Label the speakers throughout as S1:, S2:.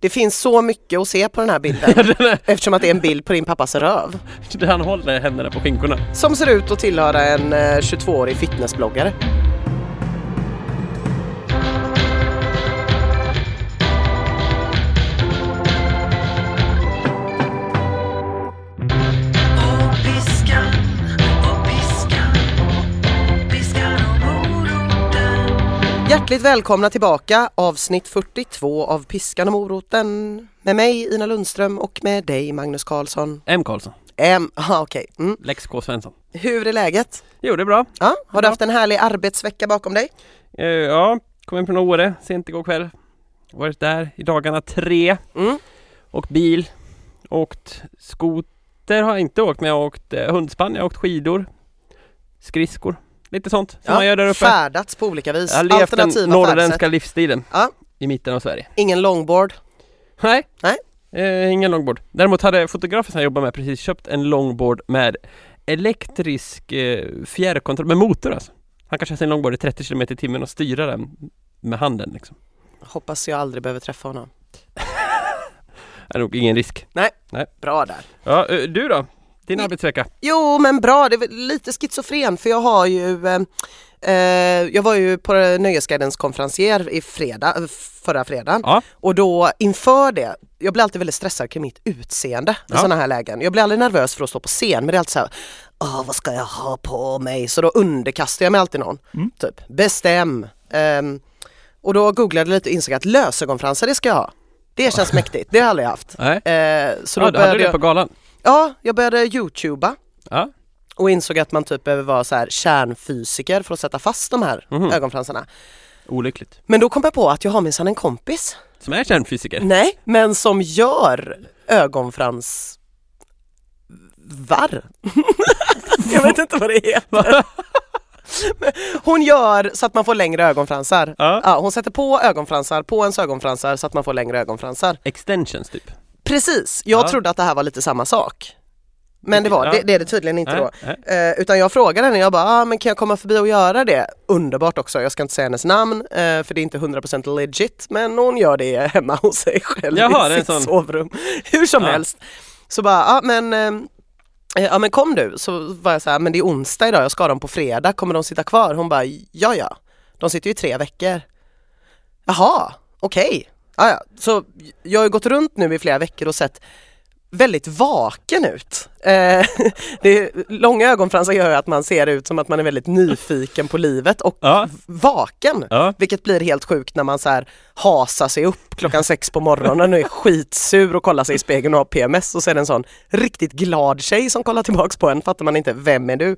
S1: Det finns så mycket att se på den här bilden eftersom att det är en bild på din pappas röv
S2: Där han håller händerna på skinkorna.
S1: som ser ut att tillhöra en eh, 22-årig fitnessbloggare.
S3: Och piskan, och piskan, piskan och moroten
S1: Hjärtligt välkomna tillbaka avsnitt 42 av Piskan och moroten med mig Ina Lundström och med dig Magnus Karlsson.
S2: M. Karlsson.
S1: Ehm, aha, okej. Mm.
S2: Lex K. Svensson.
S1: Hur är läget?
S2: Jo, det är bra.
S1: Ja, har du
S2: Ja.
S1: haft en härlig arbetsvecka bakom dig?
S2: Eh, ja, kom hem från Åre sent igår kväll. Varit där i dagarna tre.
S1: Mm.
S2: Åkt bil. Åkt skoter har jag inte åkt, men jag har åkt eh, hundspann, jag har åkt skidor. Skridskor. Lite sånt som man gör där uppe.
S1: Färdats på olika vis.
S2: Jag har levt den
S1: Alternativa
S2: norrländska
S1: färdsätt.
S2: livsstilen.
S1: Ja.
S2: I mitten av Sverige.
S1: Ingen longboard.
S2: Nej.
S1: Nej.
S2: Eh, ingen longboard. Däremot hade fotografen som jag jobbar med precis köpt en longboard med elektrisk eh, fjärrkontroll, med motor alltså. Han kan köra sin longboard i 30 km i timmen och styra den med handen liksom.
S1: Hoppas jag aldrig behöver träffa honom.
S2: Det är nog ingen risk.
S1: Bra där.
S2: Ja, eh, du då? Din
S1: Mm.
S2: arbetsvecka?
S1: Jo men bra, det är väl lite schizofren för jag har ju eh, eh, Jag var ju på Nöjesguidens konferencier i fredag, eh, förra fredagen
S2: Ja.
S1: och då inför det, jag blir alltid väldigt stressad kring mitt utseende i
S2: Ja.
S1: såna sådana här lägen. Jag blir aldrig nervös för att stå på scen men det är alltid så här, Åh, vad ska jag ha på mig? Så då underkastar jag mig alltid någon.
S2: Mm.
S1: Typ, bestäm. Ehm, och då googlade jag lite och insåg att lösögonfransar det ska jag ha. Det känns mäktigt, det har jag aldrig haft.
S2: Nej.
S1: Eh, så då
S2: Ja, du hade
S1: började
S2: du det på
S1: jag,
S2: galan?
S1: ja, jag började youtuba
S2: Ja.
S1: och insåg att man typ behöver vara så här kärnfysiker för att sätta fast de här
S2: Mhm.
S1: ögonfransarna.
S2: Olyckligt.
S1: Men då kom jag på att jag har minsann en kompis,
S2: Som är kärnfysiker?
S1: nej, men som gör ögonfrans varr. jag vet inte vad det heter. Men Hon gör så att man får längre ögonfransar.
S2: Ja.
S1: Ja, hon sätter på ögonfransar på ens ögonfransar så att man får längre ögonfransar.
S2: Extensions typ?
S1: Precis, jag
S2: Ja.
S1: trodde att det här var lite samma sak. Men det, var,
S2: Ja.
S1: det, det är det tydligen inte
S2: Nej,
S1: då.
S2: nej.
S1: Eh, utan jag frågade henne, jag bara, ah, men kan jag komma förbi och göra det? Underbart också, jag ska inte säga hennes namn eh, för det är inte 100% legit men hon gör det hemma hos sig själv
S2: Jaha, det
S1: i
S2: är
S1: sitt
S2: en sån-
S1: sovrum. Hur som
S2: Ja.
S1: helst. Så bara, ah, men, eh, ja men kom du, så var jag så här, "Ah, men det är onsdag idag, jag ska dem på fredag, kommer de sitta kvar? Hon bara, ja ja, de sitter ju i tre veckor. Jaha, okej. Ja, ja. Så jag har ju gått runt nu i flera veckor och sett väldigt vaken ut. Eh, det är, långa ögonfransar gör ju att man ser ut som att man är väldigt nyfiken på livet och
S2: Ja.
S1: vaken.
S2: Ja.
S1: Vilket blir helt sjukt när man så här hasar sig upp klockan sex på morgonen och är skitsur och kollar sig i spegeln och har PMS och så är det en sån riktigt glad tjej som kollar tillbaks på en, fattar man inte, vem är du?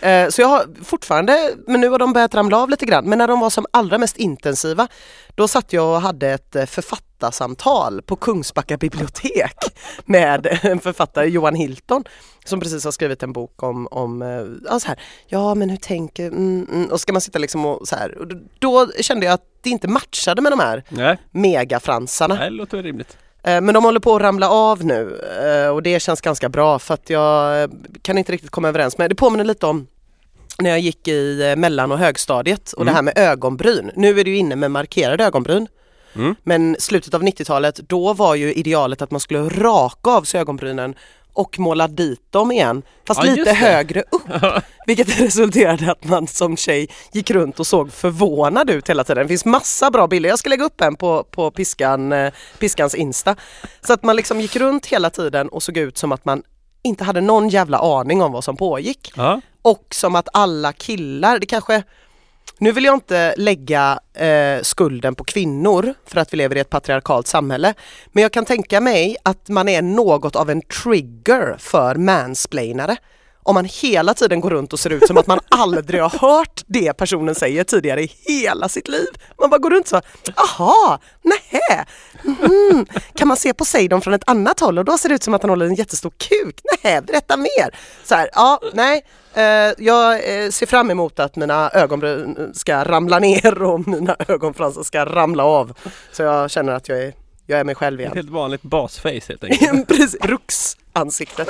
S1: Eh, Så jag har fortfarande, men nu har de börjat ramla av lite grann, men när de var som allra mest intensiva då satt jag och hade ett eh, författarsamtal på Kungsbacka bibliotek med en författare, Johan Hilton, som precis har skrivit en bok om, om eh, ja, så här, ja men hur tänker, mm, mm, och ska man sitta liksom och så här, och då- då kände jag att det inte matchade med de här
S2: Nej,
S1: megafransarna.
S2: det låter väl rimligt.
S1: Eh, Men de håller på att ramla av nu eh, och det känns ganska bra för att jag eh, kan inte riktigt komma överens med. Det påminner lite om när jag gick i eh, mellan och högstadiet och det här med ögonbryn. Nu är det ju inne med markerade ögonbryn.
S2: Mm.
S1: Men slutet av 90-talet, då var ju idealet att man skulle raka av sig ögonbrynen och måla dit dem igen, fast
S2: Ja, just
S1: lite
S2: det.
S1: högre upp. Vilket resulterade att man som tjej gick runt och såg förvånad ut hela tiden. Det finns massa bra bilder, jag ska lägga upp en på, på piskan, eh, Piskans Insta. Så att man liksom gick runt hela tiden och såg ut som att man inte hade någon jävla aning om vad som pågick.
S2: Ja.
S1: Och som att alla killar, det kanske nu vill jag inte lägga eh, skulden på kvinnor för att vi lever i ett patriarkalt samhälle. Men jag kan tänka mig att man är något av en trigger för mansplainare. Om man hela tiden går runt och ser ut som att man aldrig har hört det personen säger tidigare i hela sitt liv. Man bara går runt så, aha, nähä, mhm. kan man se Poseidon från ett annat håll och då ser det ut som att han håller en jättestor kuk, nähä, berätta mer. Så här, ja, nej, eh, jag eh, ser fram emot att mina ögonbryn eh, ska ramla ner och mina ögonfransar ska ramla av. Så jag känner att jag är, jag är mig själv
S2: Ett
S1: igen.
S2: helt vanligt basface helt enkelt.
S1: Precis, bruksansikte.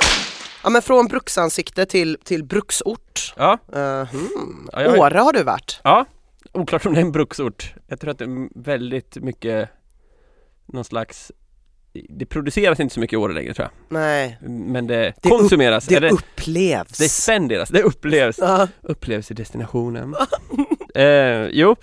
S1: Ja men från bruksansikte till, till bruksort.
S2: Ja.
S1: Eh, hmm.
S2: Ja, jag har-
S1: Åre har du varit.
S2: Ja, oklart om det är en bruksort. Jag tror att det är väldigt mycket någon slags det produceras inte så mycket i Åre längre tror
S1: Nej.
S2: jag. Men det,
S1: Det upp-
S2: konsumeras,
S1: Det
S2: eller
S1: upplevs.
S2: det spenderas, det upplevs.
S1: Ja.
S2: upplevs i destinationen. eh, jo,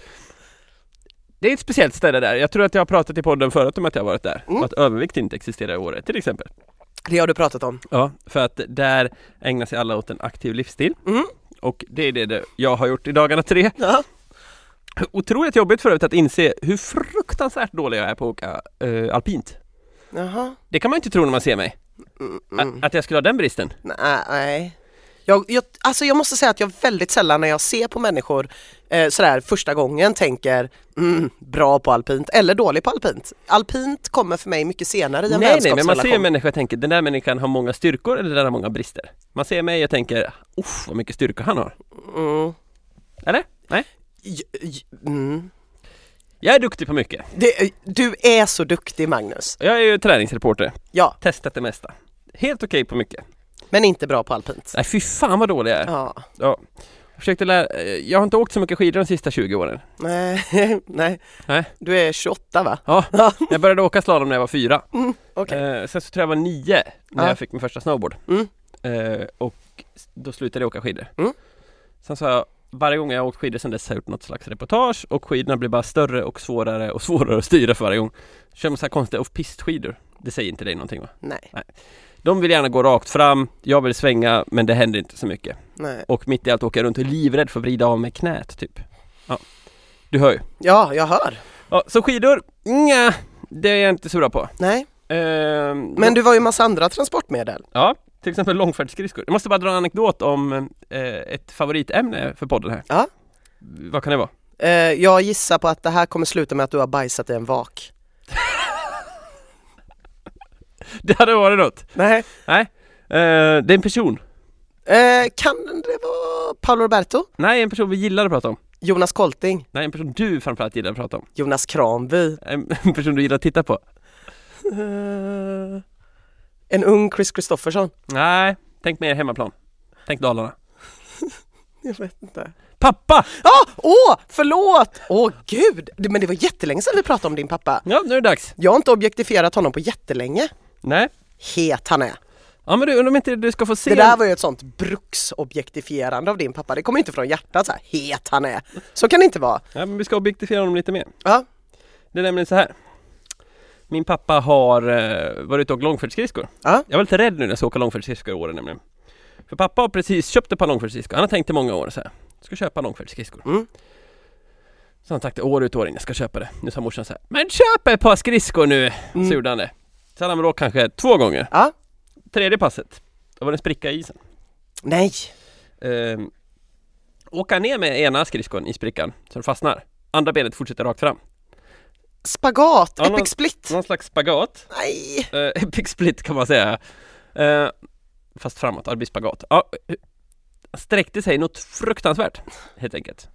S2: det är ett speciellt ställe där. Jag tror att jag har pratat i podden förut om att jag har varit där.
S1: Mm.
S2: Och att övervikt inte existerar i Åre till exempel.
S1: det har du pratat om.
S2: Ja, för att där ägnar sig alla åt en aktiv livsstil.
S1: Mm.
S2: Och det är det- det jag har gjort i dagarna tre.
S1: Ja.
S2: Otroligt jobbigt för övrigt att inse hur fruktansvärt dålig jag är på att åka eh, alpint.
S1: Jaha.
S2: Det kan man ju inte tro när man ser mig.
S1: Mm,
S2: A-
S1: mm.
S2: Att jag skulle ha den bristen.
S1: Nej, Nej. Jag, jag, alltså jag måste säga att jag väldigt sällan när jag ser på människor eh, sådär första gången tänker mm, bra på alpint eller dålig på alpint. Alpint kommer för mig mycket senare i en
S2: Nej, nej, men man ser ju en
S1: vänskapsrelation.
S2: människa och tänker den där människan har många styrkor eller den där har många brister. Man ser mig och tänker, uff vad mycket styrka han har.
S1: Mm.
S2: Eller? Nej?
S1: J- j- Mm.
S2: Jag är duktig på mycket.
S1: Det, du är så duktig Magnus.
S2: Jag är ju träningsreporter,
S1: Ja,
S2: testat det mesta. Helt okej på mycket.
S1: men inte bra på alpint.
S2: Nej fy fan vad dålig jag är.
S1: Ja.
S2: Ja. Jag, försökte lära... eh, jag har inte åkt så mycket skidor de sista 20 åren.
S1: Nej, nej.
S2: Nej.
S1: Du är 28 va?
S2: Ja, jag började åka slalom när jag var fyra.
S1: Mm, Okej.
S2: Eh, sen så tror jag var nio när
S1: Ja.
S2: jag fick min första snowboard.
S1: Mm.
S2: Eh, och s- då slutade jag åka skidor.
S1: Mm.
S2: Sen så har jag, varje gång jag har åkt skidor sen dess har jag gjort något slags reportage och skidorna blir bara större och svårare och svårare att styra för varje gång. Kör man så här konstiga off-pist-skidor. Det säger inte dig någonting va?
S1: Nej,
S2: De vill gärna gå rakt fram, jag vill svänga men det händer inte så mycket.
S1: nej.
S2: Och mitt i allt åker jag runt och är livrädd för att vrida av mig knät typ. Ja. Du hör ju.
S1: Ja, jag hör.
S2: Ja, så skidor, nja, det är jag inte så bra på.
S1: Nej,
S2: Ehm,
S1: men du var ju massa andra transportmedel.
S2: Ja, till exempel långfärdsskridskor. Jag måste bara dra en anekdot om eh, ett favoritämne för podden här.
S1: Ja.
S2: Vad kan det vara?
S1: Eh, jag gissar på att det här kommer sluta med att du har bajsat i en vak.
S2: Det hade varit något.
S1: Nej.
S2: Nej, eh, det är en person.
S1: Eh, kan det vara Paolo Roberto?
S2: Nej, en person vi gillar att prata om.
S1: Jonas Kolting?
S2: Nej, en person du framförallt gillar att prata om.
S1: Jonas Kranby?
S2: En en person du gillar att titta på.
S1: Eh, en ung Chris Kristoffersson?
S2: Nej, tänk mer hemmaplan. Tänk Dalarna.
S1: Jag vet inte.
S2: Pappa!
S1: Ah, åh, förlåt! Åh gud! Det- Men det var jättelänge sedan vi pratade om din pappa.
S2: Ja, nu är det dags.
S1: Jag har inte objektifierat honom på jättelänge.
S2: Nej.
S1: Het han är.
S2: Ja men du, undrar om inte du ska få se
S1: Det där var ju ett sånt bruksobjektifierande av din pappa. Det kommer inte från hjärtat så här, het han är. Så kan det inte vara.
S2: Ja men vi ska objektifiera honom lite mer.
S1: Ja.
S2: Det är nämligen så här. Min pappa har eh, varit ute och åkt långfärdsskridskor.
S1: Ja.
S2: Jag var lite rädd nu när jag ska åka långfärdsskridskor i år nämligen. För pappa har precis köpt ett par långfärdsskridskor. Han har tänkt i många år så här. Jag ska köpa långfärdsskridskor.
S1: Mm.
S2: Så han sagt det år ut och år in, jag ska köpa det. Nu sa morsan så här. Men köp ett par skridskor nu! Så gjorde han det. Så hade han väl åkt kanske två gånger.
S1: Ja.
S2: Tredje passet. Då var det en spricka i isen.
S1: Nej.
S2: Ehm, åka ner med ena skridskon i sprickan så den fastnar. Andra benet fortsätter rakt fram.
S1: Spagat,
S2: Ja, någon-
S1: epic split.
S2: Någon slags spagat.
S1: Nej.
S2: Eh, epic split kan man säga. Eh, fast framåt, ja, det blir spagat. Ja, eh, sträckte sig något fruktansvärt, helt enkelt.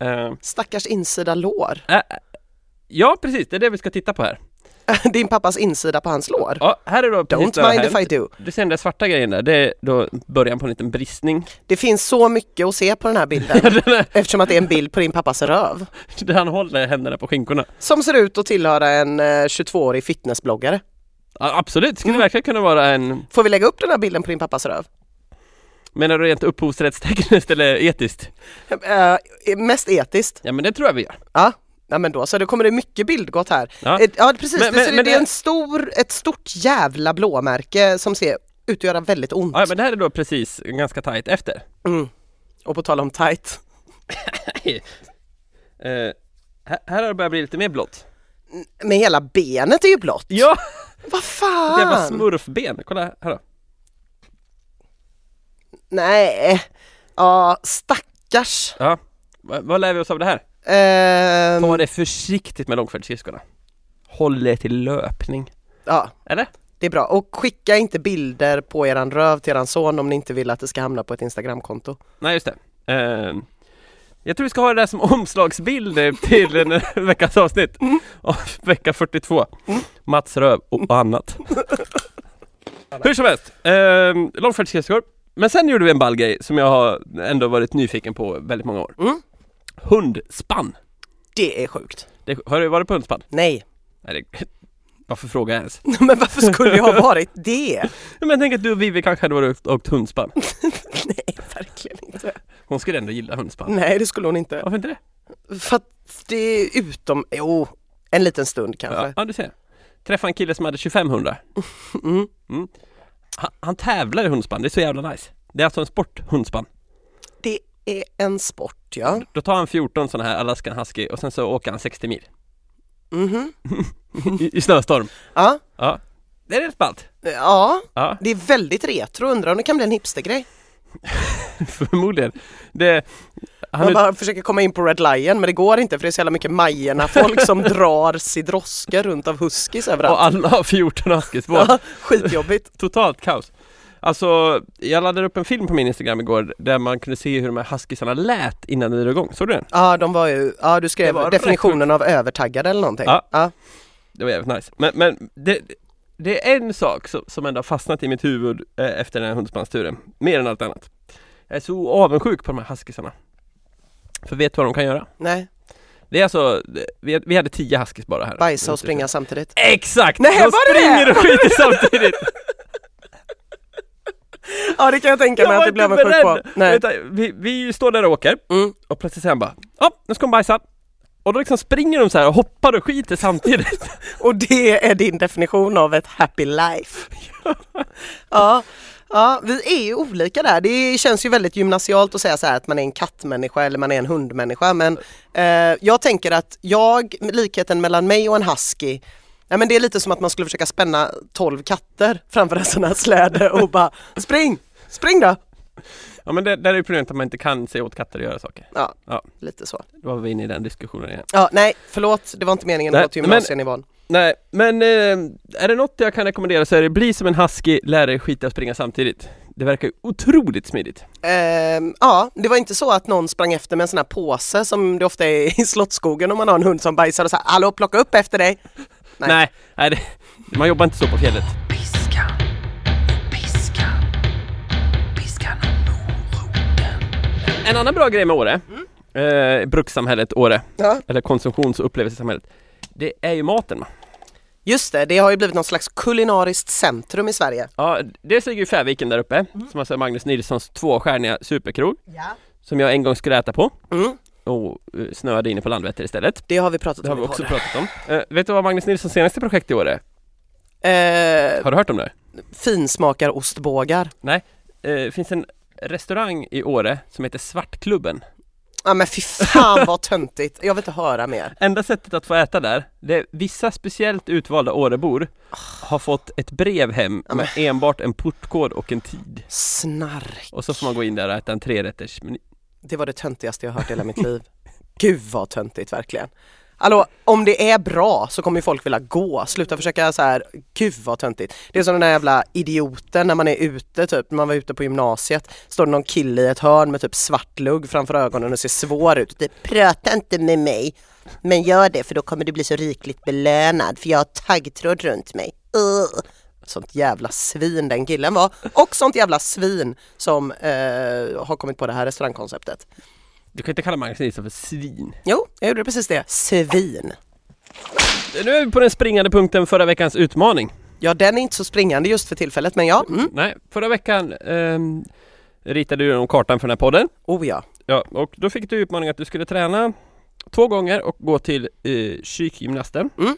S2: Eh,
S1: Stackars insida lår.
S2: eh, ja, precis, det är det vi ska titta på här.
S1: Din pappas insida på hans lår.
S2: Ja, här är då precis det
S1: Don't
S2: har
S1: mind if I
S2: hänt.
S1: do.
S2: Du ser den där svarta grejen där, det är då början på en liten bristning.
S1: Det finns så mycket att se på den här bilden. Eftersom att det är en bild på din pappas röv.
S2: Där han håller händerna på skinkorna.
S1: Som ser ut att tillhöra en eh, 22-årig fitnessbloggare.
S2: Ja, absolut, skulle
S1: Mm.
S2: verkligen kunna vara en...
S1: Får vi lägga upp den här bilden på din pappas röv?
S2: Menar du rent upphovsrättstekniskt eller etiskt?
S1: Eh, mest etiskt.
S2: Ja men det tror jag vi gör.
S1: Ja. ja, men då så. Då kommer det mycket bildgott här.
S2: Ja.
S1: Eh, Ja, precis.
S2: Men-
S1: det, ser,
S2: men- men
S1: det är
S2: det-
S1: en stor, ett stort jävla blåmärke som ser ut att göra väldigt ont.
S2: Ja men det här är då precis ganska tajt efter.
S1: Mm. Och på tal om tight.
S2: Eh, här, här har det börjat bli lite mer blått.
S1: Men hela benet är ju blått.
S2: Ja!
S1: Vad
S2: Det var
S1: fan!
S2: smurfben, kolla här då.
S1: Nej, ja stackars.
S2: Ja. Va, vad lär vi oss av det här?
S1: Ehm,
S2: Ta det försiktigt med långfärdsskidskorna. Håll er till löpning.
S1: ja,
S2: Eller?
S1: det är bra. Och skicka inte bilder på eran röv till eran son om ni inte vill att det ska hamna på ett Instagramkonto.
S2: Nej just det. Eh, jag tror vi ska ha det där som omslagsbild eh, till en veckans avsnitt. Av vecka 42. Mats Röv och annat. Hur som helst, eh, långfärdsskridskor. Men sen gjorde vi en ball grej som jag har ändå varit nyfiken på väldigt många år.
S1: Mm.
S2: Hundspann.
S1: Det är sjukt.
S2: Det, har du varit på hundspann?
S1: Nej,
S2: Nej, det, Varför frågar jag ens?
S1: Men varför skulle jag ha varit det?
S2: Ja, Men jag tänker att du och Vivi kanske hade varit och åkt hundspann.
S1: Nej, verkligen inte.
S2: Hon skulle ändå gilla hundspann.
S1: Nej, det skulle hon inte.
S2: Mm. Varför inte det?
S1: För att det är utom, jo, en liten stund
S2: Ja,
S1: kanske.
S2: ja du ser. Träffade en kille som hade 25 hundar.
S1: Mm.
S2: Han, han tävlar i hundspann, det är så jävla nice. Det är alltså en sport, hundspann.
S1: Det är en sport ja.
S2: Då tar han 14 sådana här Alaskan Husky och sen så åker han 60 mil
S1: Mhm.
S2: i, i snöstorm.
S1: Ja.
S2: Ja. Det är rätt ballt.
S1: ja,
S2: Ja,
S1: det är väldigt retro, undrar om det kan bli en hipstergrej.
S2: förmodligen. Det, han
S1: Man
S2: är,
S1: bara försöker komma in på Red Lion men det går inte för det är så jävla mycket Majerna-folk som drar sidrosker runt av huskis
S2: och
S1: överallt.
S2: alla har 14 huskys på.
S1: Ja, skitjobbigt.
S2: Totalt kaos. Alltså, jag laddade upp en film på min Instagram igår där man kunde se hur de här huskisarna lät innan den drog igång. Såg du den?
S1: Ja, de var ju, ja du
S2: Det
S1: skrev
S2: var rätt
S1: definitionen av övertaggade eller någonting.
S2: Ja.
S1: ja.
S2: Det var jävligt nice. Men, men det, det är en sak som, som ändå har fastnat i mitt huvud eh, efter den här hundspannsturen. Mer än allt annat. Jag är så avundsjuk på de här huskisarna. För vet du vad de kan göra?
S1: Nej,
S2: Det är alltså, vi, vi hade 10 huskis bara här.
S1: bajsa och springa samtidigt.
S2: Exakt!
S1: Nej,
S2: de
S1: var det
S2: springer
S1: det?
S2: och skiter samtidigt!
S1: Ja det kan jag tänka mig att det blev en sjuk på. Nej.
S2: Vänta, vi, vi står där och åker
S1: Mm.
S2: och plötsligt säger han bara Ja, nu ska hon bajsa! Och då liksom springer de så här och hoppar och skiter samtidigt.
S1: Och det är din definition av ett happy life. ja. ja, vi är ju olika där. Det känns ju väldigt gymnasialt att säga så här att man är en kattmänniska eller man är en hundmänniska. Men eh, jag tänker att jag, likheten mellan mig och en husky Ja, men det är lite som att man skulle försöka spänna 12 katter framför en sån här släde och bara spring, spring då!
S2: ja men det, där är ju problemet att man inte kan säga åt katter att göra saker.
S1: Ja,
S2: Ja.
S1: lite så.
S2: Då var vi inne i den diskussionen igen.
S1: Ja, nej, förlåt, det var inte meningen att
S2: Nej,
S1: gå till
S2: men-
S1: gymnasienivån.
S2: Nej, men eh, är det något jag kan rekommendera så är det bli som en husky, lär dig skita och springa samtidigt. Det verkar ju otroligt smidigt.
S1: Ehm, ja, det var inte så att någon sprang efter med en sån här påse som det ofta är i Slottsskogen om man har en hund som bajsar och så här, hallå plocka upp efter dig. Nej.
S2: Nej, nej, det, man jobbar inte så på fjället.
S3: Piskan, piskan, piskan och moroten.
S2: En annan bra grej med Åre, eh, brukssamhället Åre,
S1: Ja.
S2: eller konsumtions och upplevelsesamhället, det är ju maten. va?
S1: Just det, det har ju blivit någon slags kulinariskt centrum i Sverige.
S2: Ja, dels ligger ju Färviken där uppe, som alltså är Magnus Nilssons tvåstjärniga superkrog, som jag en gång skulle äta på
S1: Mm,
S2: och eh, snöade inne på Landvetter istället.
S1: det har vi pratat
S2: Det har
S1: om
S2: vi
S1: i
S2: också
S1: podden.
S2: pratat om. Eh, vet du vad Magnus Nilssons senaste projekt i år är?
S1: Ehm,
S2: Har du hört om det?
S1: finsmakar ostbågar.
S2: Eh, Det finns en restaurang i Åre som heter Svartklubben.
S1: Ja men fy fan vad töntigt, jag vill inte höra mer.
S2: Enda sättet att få äta där, det är vissa speciellt utvalda Årebor har fått ett brev hem
S1: Ja, men-
S2: med enbart en portkod och en tid.
S1: Snark,
S2: Och så får man gå in där och äta en trerätters meny.
S1: det var det töntigaste jag hört i hela mitt liv. Gud vad töntigt verkligen. Hallå, om det är bra så kommer ju folk vilja gå, sluta försöka så här, gud vad töntigt. Det är som den där jävla idioten när man är ute typ, när man var ute på gymnasiet, står det någon kille i ett hörn med typ svart lugg framför ögonen och ser svår ut. Det, Prata inte med mig, men gör det för då kommer du bli så rikligt belönad för jag har taggtråd runt mig. Ugh. Sånt jävla svin den killen var och sånt jävla svin som eh, har kommit på det här restaurangkonceptet.
S2: Du kan inte kalla Magnus Nilsson för svin.
S1: Jo, jag gjorde precis det. Svin.
S2: Nu är vi på den springande punkten förra veckans utmaning.
S1: Ja, den är inte så springande just för tillfället, men ja. Mm.
S2: Nej, förra veckan ehm, ritade du om kartan för den här podden.
S1: Oh ja.
S2: Ja, och då fick du utmaningen att du skulle träna två gånger och gå till eh, psykgymnasten.
S1: Mm.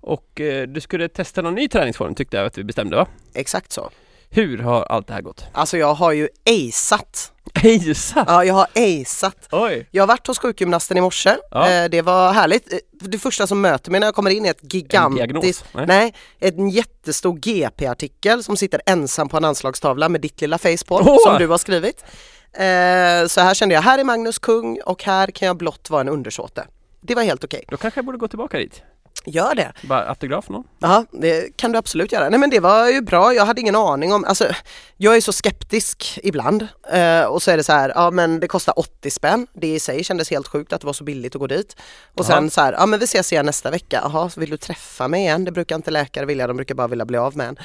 S2: Och eh, du skulle testa någon ny träningsform tyckte jag att vi bestämde va?
S1: Exakt så.
S2: Hur har allt det här gått?
S1: Alltså jag har ju aceat.
S2: Hejsan!
S1: Ja, jag har aceat.
S2: Oj!
S1: Jag har varit hos sjukgymnasten i morse.
S2: Ja.
S1: Eh, Det var härligt. Eh, Det första som möter mig när jag kommer in är ett gigantiskt...
S2: diagnos? Nej.
S1: Nej, en jättestor GP-artikel som sitter ensam på en anslagstavla med ditt lilla face på,
S2: Åh!
S1: som du har skrivit. Eh, Så här kände jag, här är Magnus kung och här kan jag blott vara en undersåte. Det var helt okej.
S2: Då kanske jag borde gå tillbaka dit.
S1: Gör det.
S2: Bara autograf någon.
S1: Ja, det kan du absolut göra. Nej men det var ju bra, jag hade ingen aning om, alltså jag är så skeptisk ibland eh, och så är det så här, ja men det kostar 80 spänn, det i sig kändes helt sjukt att det var så billigt att gå dit. Och sen
S2: Aha.
S1: så här, ja men vi ses igen nästa vecka, jaha så vill du träffa mig igen? Det brukar inte läkare vilja, de brukar bara vilja bli av med en.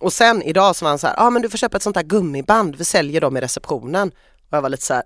S1: Och sen idag så var han så här, ja men du får köpa ett sånt här gummiband, vi säljer dem i receptionen. Och jag var lite så här,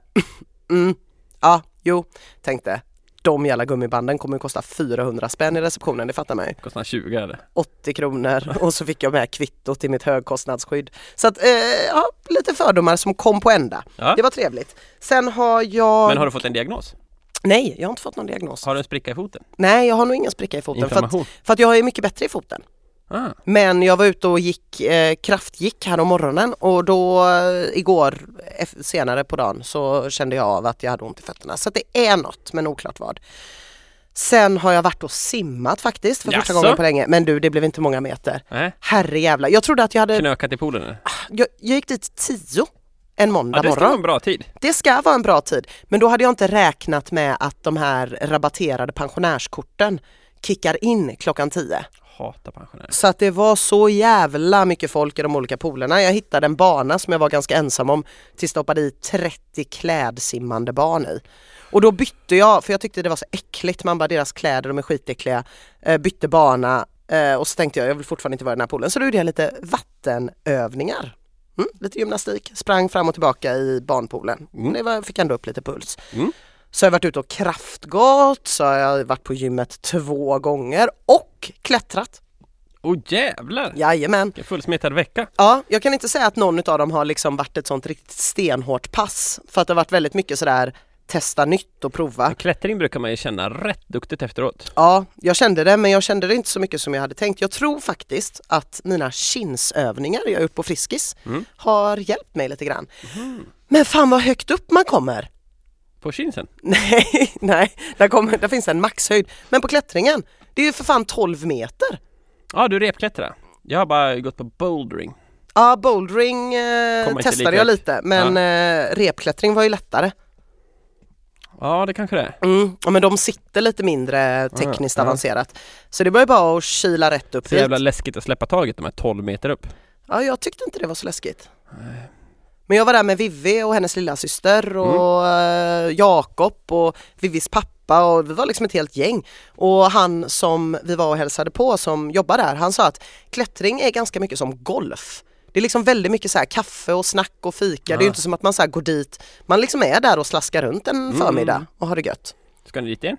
S1: mm, ja, jo, tänkte, de jävla gummibanden kommer ju kosta 400 spänn i receptionen, det fattar man ju.
S2: Kostar 20 eller?
S1: 80 kronor och så fick jag med kvittot till mitt högkostnadsskydd. Så att, eh, ja, lite fördomar som kom på ända.
S2: Ja.
S1: Det var trevligt. Sen har jag...
S2: Men har du fått en diagnos?
S1: Nej, jag har inte fått någon diagnos.
S2: Har du en spricka i foten?
S1: Nej, jag har nog ingen spricka i foten för att,
S2: Inflammation?
S1: för att jag är mycket bättre i foten.
S2: Ah,
S1: Men jag var ute och gick, eh, kraftgick här om morgonen och då eh, igår eff- senare på dagen så kände jag av att jag hade ont i fötterna. Så att det är något men oklart vad. Sen har jag varit och simmat faktiskt för första
S2: Jaså?
S1: gången på länge. Men du det blev inte många meter.
S2: nej.
S1: Herrejävlar, jag trodde att jag hade,
S2: Knökat i poolen eller?
S1: jag, jag gick dit 10 en måndag
S2: Ja, det ska vara
S1: morgon.
S2: en bra tid.
S1: Det ska vara en bra tid, men då hade jag inte räknat med att de här rabatterade pensionärskorten kickar in klockan 10.
S2: Hatar pensionärer.
S1: Så att det var så jävla mycket folk i de olika poolerna. Jag hittade en bana som jag var ganska ensam om tills jag stoppade i 30 klädsimmande barn i. Och då bytte jag, för jag tyckte det var så äckligt, man bara deras kläder, de är skitäckliga. Eh, bytte bana eh, och så tänkte jag, jag vill fortfarande inte vara i den här poolen. Så då gjorde jag lite vattenövningar. Mm, lite gymnastik, sprang fram och tillbaka i barnpoolen. Det var, fick ändå upp lite puls.
S2: Mm.
S1: Så har jag varit ute och kraftgått, så har jag varit på gymmet två gånger och klättrat.
S2: Åh jävlar!
S1: Jajamän.
S2: Vilken fullsmetad vecka.
S1: Ja, jag kan inte säga att någon av dem har liksom varit ett sånt riktigt stenhårt pass för att det har varit väldigt mycket sådär testa nytt och prova.
S2: Klättring brukar man ju känna rätt duktigt efteråt.
S1: Ja, jag kände det men jag kände det inte så mycket som jag hade tänkt. Jag tror faktiskt att mina kinsövningar jag har gjort på Friskis
S2: Mm.
S1: har hjälpt mig lite grann. Men fan vad högt upp man kommer!
S2: På kinsen.
S1: Nej, nej, där, kommer, där finns en maxhöjd. Men på klättringen, det är ju för fan 12 meter!
S2: Ja, du repklättrar. Jag har bara gått på bouldering.
S1: Ja, bouldering eh,
S2: inte
S1: testade
S2: lika
S1: jag
S2: högt.
S1: lite men eh, repklättring var ju lättare.
S2: Ja, det kanske det är.
S1: Mm, ja, men de sitter lite mindre tekniskt
S2: Ja, ja.
S1: avancerat. Så det var ju bara att kila rätt upp
S2: Så
S1: dit.
S2: jävla läskigt att släppa taget de här 12 meter upp.
S1: Ja, jag tyckte inte det var så läskigt. Men jag var där med Vivi och hennes lilla syster och
S2: Mm.
S1: eh, Jakob och Vivis pappa och vi var liksom ett helt gäng. Och han som vi var och hälsade på som jobbar där, han sa att klättring är ganska mycket som golf. Det är liksom väldigt mycket så här kaffe och snack och fika. Det är ju inte som att man så här går dit, man liksom är där och slaskar runt en
S2: Mm.
S1: förmiddag och har det gött.
S2: Ska ni dit igen?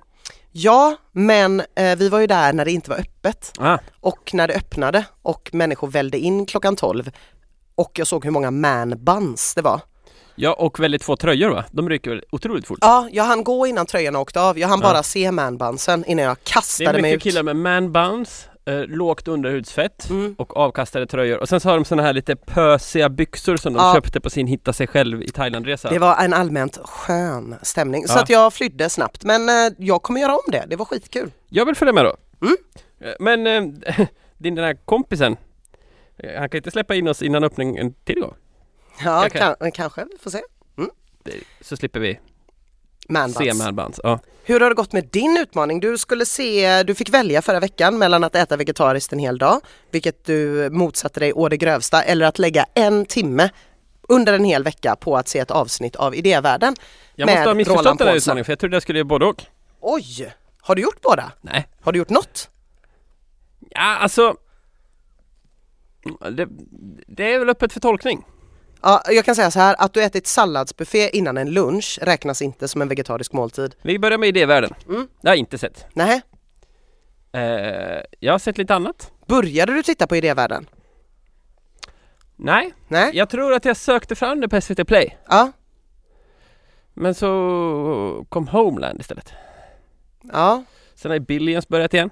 S1: Ja, men eh, vi var ju där när det inte var öppet
S2: Ah,
S1: och när det öppnade och människor välde in klockan 12 och jag såg hur många man-buns det var.
S2: ja, och väldigt få tröjor va? De ryker väl otroligt fort?
S1: Ja, jag hann gå innan tröjan åkte av. Jag hann bara se man-bunsen innan jag
S2: Det är
S1: kastade mig
S2: mycket
S1: ut. Mm.
S2: killar med man buns, eh, lågt underhudsfett och avkastade tröjor och sen så har de såna här lite pösiga byxor som de
S1: Ja.
S2: köpte på sin hitta sig själv i Thailandresa.
S1: Det var en allmänt skön stämning så
S2: Ja.
S1: att jag flydde snabbt men eh, jag kommer göra om det. Det var skitkul.
S2: Jag vill följa med då.
S1: Mm.
S2: Eh, Men eh, din den här kompisen, eh, han kan inte släppa in oss innan öppningen en till gång.
S1: Ja,
S2: Okej.
S1: kan, kanske. Vi får se.
S2: Det- Så slipper vi se
S1: Man-buns.
S2: man buns. Ja.
S1: Hur har det gått med din utmaning? Du skulle se, du fick välja förra veckan mellan att äta vegetariskt en hel dag, vilket du motsatte dig å det grövsta, eller att lägga en timme under en hel vecka på att se ett avsnitt av Idévärlden.
S2: Jag
S1: med
S2: måste ha missförstått
S1: Roland
S2: den här
S1: Paulsen.
S2: utmaningen för jag trodde jag skulle göra både och.
S1: Oj! Har du gjort båda?
S2: Nej.
S1: Har du gjort något?
S2: Ja, alltså. Det, det är väl öppet för tolkning.
S1: Ja, jag kan säga så här, att du ätit salladsbuffé innan en lunch räknas inte som en vegetarisk måltid.
S2: Vi börjar med idévärlden.
S1: Mm.
S2: Det har jag inte sett.
S1: Nej.
S2: Eh, jag har sett lite annat.
S1: Började du titta på Idévärlden?
S2: Nej,
S1: Nej?
S2: jag tror att jag sökte fram det på SVT Play.
S1: Ja.
S2: Men så kom Homeland istället.
S1: Ja.
S2: Sen har Billions börjat igen.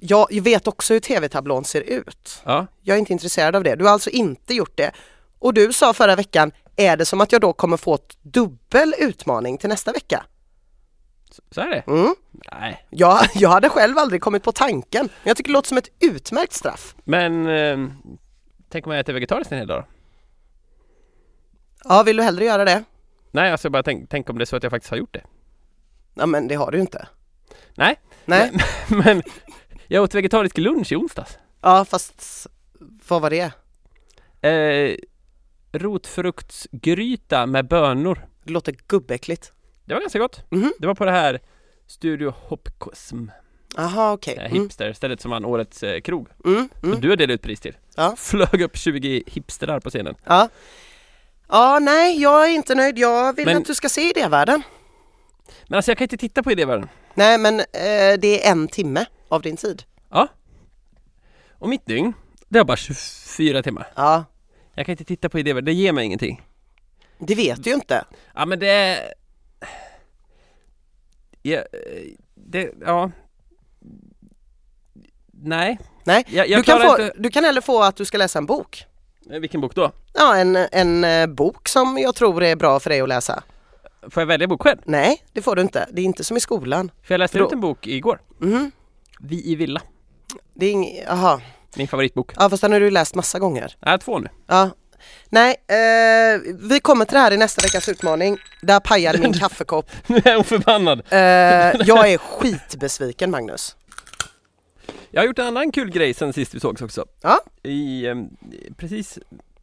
S1: Jag vet också hur tv-tablån ser ut.
S2: Ja,
S1: Jag är inte intresserad av det. Du har alltså inte gjort det. Och du sa förra veckan, är det som att jag då kommer få ett dubbel utmaning till nästa vecka?
S2: så, så är det.
S1: Mm.
S2: Nej,
S1: Jag, jag hade själv aldrig kommit på tanken. Men jag tycker det låter som ett utmärkt straff.
S2: men eh, tänk om jag äter vegetariskt en hel dag då?
S1: Ja, vill du hellre göra det?
S2: Nej, alltså bara tänk, tänk om det är så att jag faktiskt har gjort det.
S1: Ja, men det har du ju inte.
S2: Nej,
S1: Nej.
S2: men jag åt vegetarisk lunch i onsdags.
S1: Ja, fast vad var det?
S2: Eh, rotfruktsgryta med bönor.
S1: Det låter gubbäckligt.
S2: Det var ganska gott.
S1: Mhm.
S2: Det var på det här Studio Hopcosm,
S1: Aha, okej.
S2: det här
S1: Mm,
S2: hipsterstället som vann årets eh, krog.
S1: mm,
S2: Som
S1: mm.
S2: du har delat ut pris till.
S1: Ja.
S2: Flög upp 20 hipsterar på scenen.
S1: Ja. ja, nej, jag är inte nöjd. Jag vill
S2: Men-
S1: att du ska se Idévärlden.
S2: Men alltså jag kan inte titta på elevaren.
S1: Nej men eh, det är en timme av din tid.
S2: Och mitt dygn, det har bara 24 timmar.
S1: Ja,
S2: Jag kan inte titta på elevaren, det ger mig ingenting.
S1: det vet du ju inte.
S2: Ja men det... Ja, eh, det, ja... Nej.
S1: Nej,
S2: jag, jag
S1: Du kan,
S2: klarar
S1: få,
S2: inte...
S1: du kan heller få att du ska läsa en bok.
S2: Eh, Vilken bok då?
S1: Ja, en, en eh, bok som jag tror är bra för dig att läsa.
S2: Får jag välja bok själv?
S1: Nej, det får du inte. Det är inte som i skolan.
S2: För jag läste
S1: Då-
S2: ut en bok igår.
S1: Mhm.
S2: Vi i villa.
S1: Det är ing- Jaha,
S2: Min favoritbok.
S1: ja, fast den har du läst massa gånger.
S2: Nej, två nu.
S1: Ja. Nej, eh, vi kommer till det här i nästa veckas utmaning. Där pajade min kaffekopp.
S2: Nu är hon förbannad.
S1: Eh, jag är skitbesviken Magnus.
S2: Jag har gjort en annan kul grej sen sist vi sågs också.
S1: Ja.
S2: I, ehm, precis,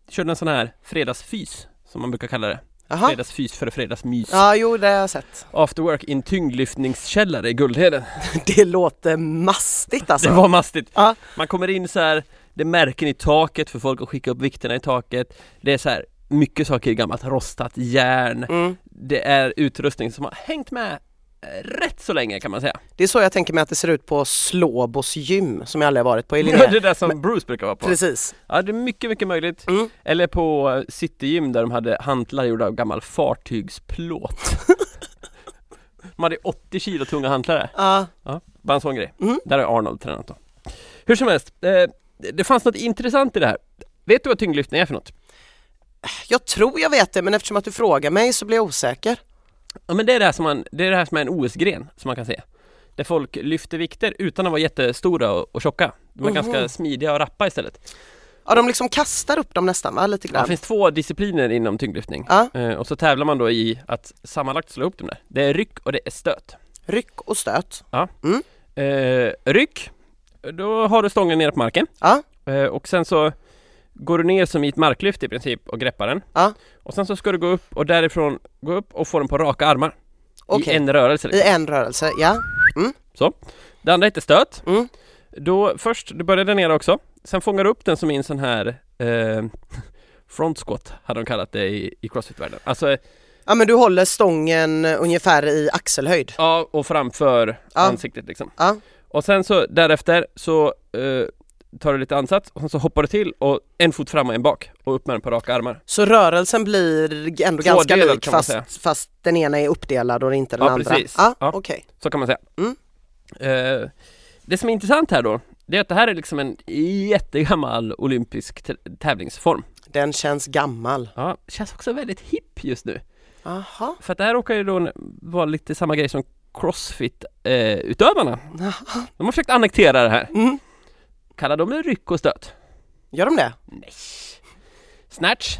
S2: körde en sån här fredagsfys, som man brukar kalla det.
S1: Jaha.
S2: Fredagsfys för fredagsmys.
S1: Ja, jo det har jag sett.
S2: After work i en tyngdlyftningskällare i Guldheden.
S1: Det låter mastigt alltså.
S2: Det var mastigt.
S1: Ja.
S2: Man kommer in så här, det är märken i taket för folk att skicka upp vikterna i taket. Det är så här, mycket saker i gammalt rostat järn.
S1: Mm.
S2: Det är utrustning som har hängt med eh, rätt så länge kan man säga.
S1: Det är så jag tänker mig att det ser ut på Slåbos gym som jag aldrig har varit på i
S2: Det är
S1: Linné.
S2: det där som Bruce brukar vara på.
S1: Precis.
S2: Ja, det är mycket, mycket möjligt.
S1: Mm.
S2: Eller på eh, Citygym där de hade hantlar gjorda av gammal fartygsplåt. de hade 80 kilo tunga hantlar.
S1: Ja.
S2: Ja, bara en sån grej.
S1: Mm.
S2: Där har Arnold tränat då. Hur som helst, eh, det fanns något intressant i det här. Vet du vad tyngdlyftning är för något?
S1: Jag tror jag vet det men eftersom att du frågar mig så blir jag osäker.
S2: Ja men det är det här som, man, det är det här som är en OS-gren, som man kan se. Där folk lyfter vikter utan att vara jättestora och, och tjocka. De är
S1: Mhm.
S2: ganska smidiga och rappa istället.
S1: Ja de liksom kastar upp dem nästan va? Lite
S2: Det
S1: grann.
S2: finns två discipliner inom tyngdlyftning.
S1: Ja.
S2: Eh, Och så tävlar man då i att sammanlagt slå ihop dem där. Det är ryck och det är stöt.
S1: Ryck och stöt.
S2: Eh, ryck, då har du stången nere på marken.
S1: Ja.
S2: Eh, och sen så går du ner som i ett marklyft i princip och greppar den.
S1: Ja.
S2: Och sen så ska du gå upp och därifrån gå upp och få den på raka armar.
S1: Okej.
S2: I en rörelse.
S1: I
S2: Liksom.
S1: en rörelse, ja.
S2: Det andra heter stöt.
S1: Mm.
S2: Då först, du börjar där nere också. Sen fångar du upp den som i en sån här eh, front squat hade de kallat det i, i crossfit-världen. Alltså, eh,
S1: Ja men du håller stången ungefär i axelhöjd.
S2: ja, och framför
S1: Ja.
S2: ansiktet liksom.
S1: Ja.
S2: Och sen så därefter så eh, tar du lite ansats och sen så hoppar du till och en fot fram och en bak och upp med den på raka armar.
S1: Så rörelsen blir ändå
S2: Tvådelad,
S1: ganska lik
S2: kan man säga.
S1: fast, fast den ena är uppdelad och inte den
S2: Ja,
S1: andra.
S2: precis.
S1: Ja,
S2: Ja.
S1: okej.
S2: Så kan man säga.
S1: Mm.
S2: Eh, det som är intressant här då, det är att det här är liksom en jättegammal olympisk t- tävlingsform.
S1: Den känns gammal.
S2: Ja, känns också väldigt hipp just nu.
S1: Aha.
S2: För att det här råkar ju då vara lite samma grej som crossfit-utövarna. De har försökt annektera det här.
S1: Mm.
S2: Kallar de det ryck och stöt?
S1: Gör de det?
S2: Nej. Snatch.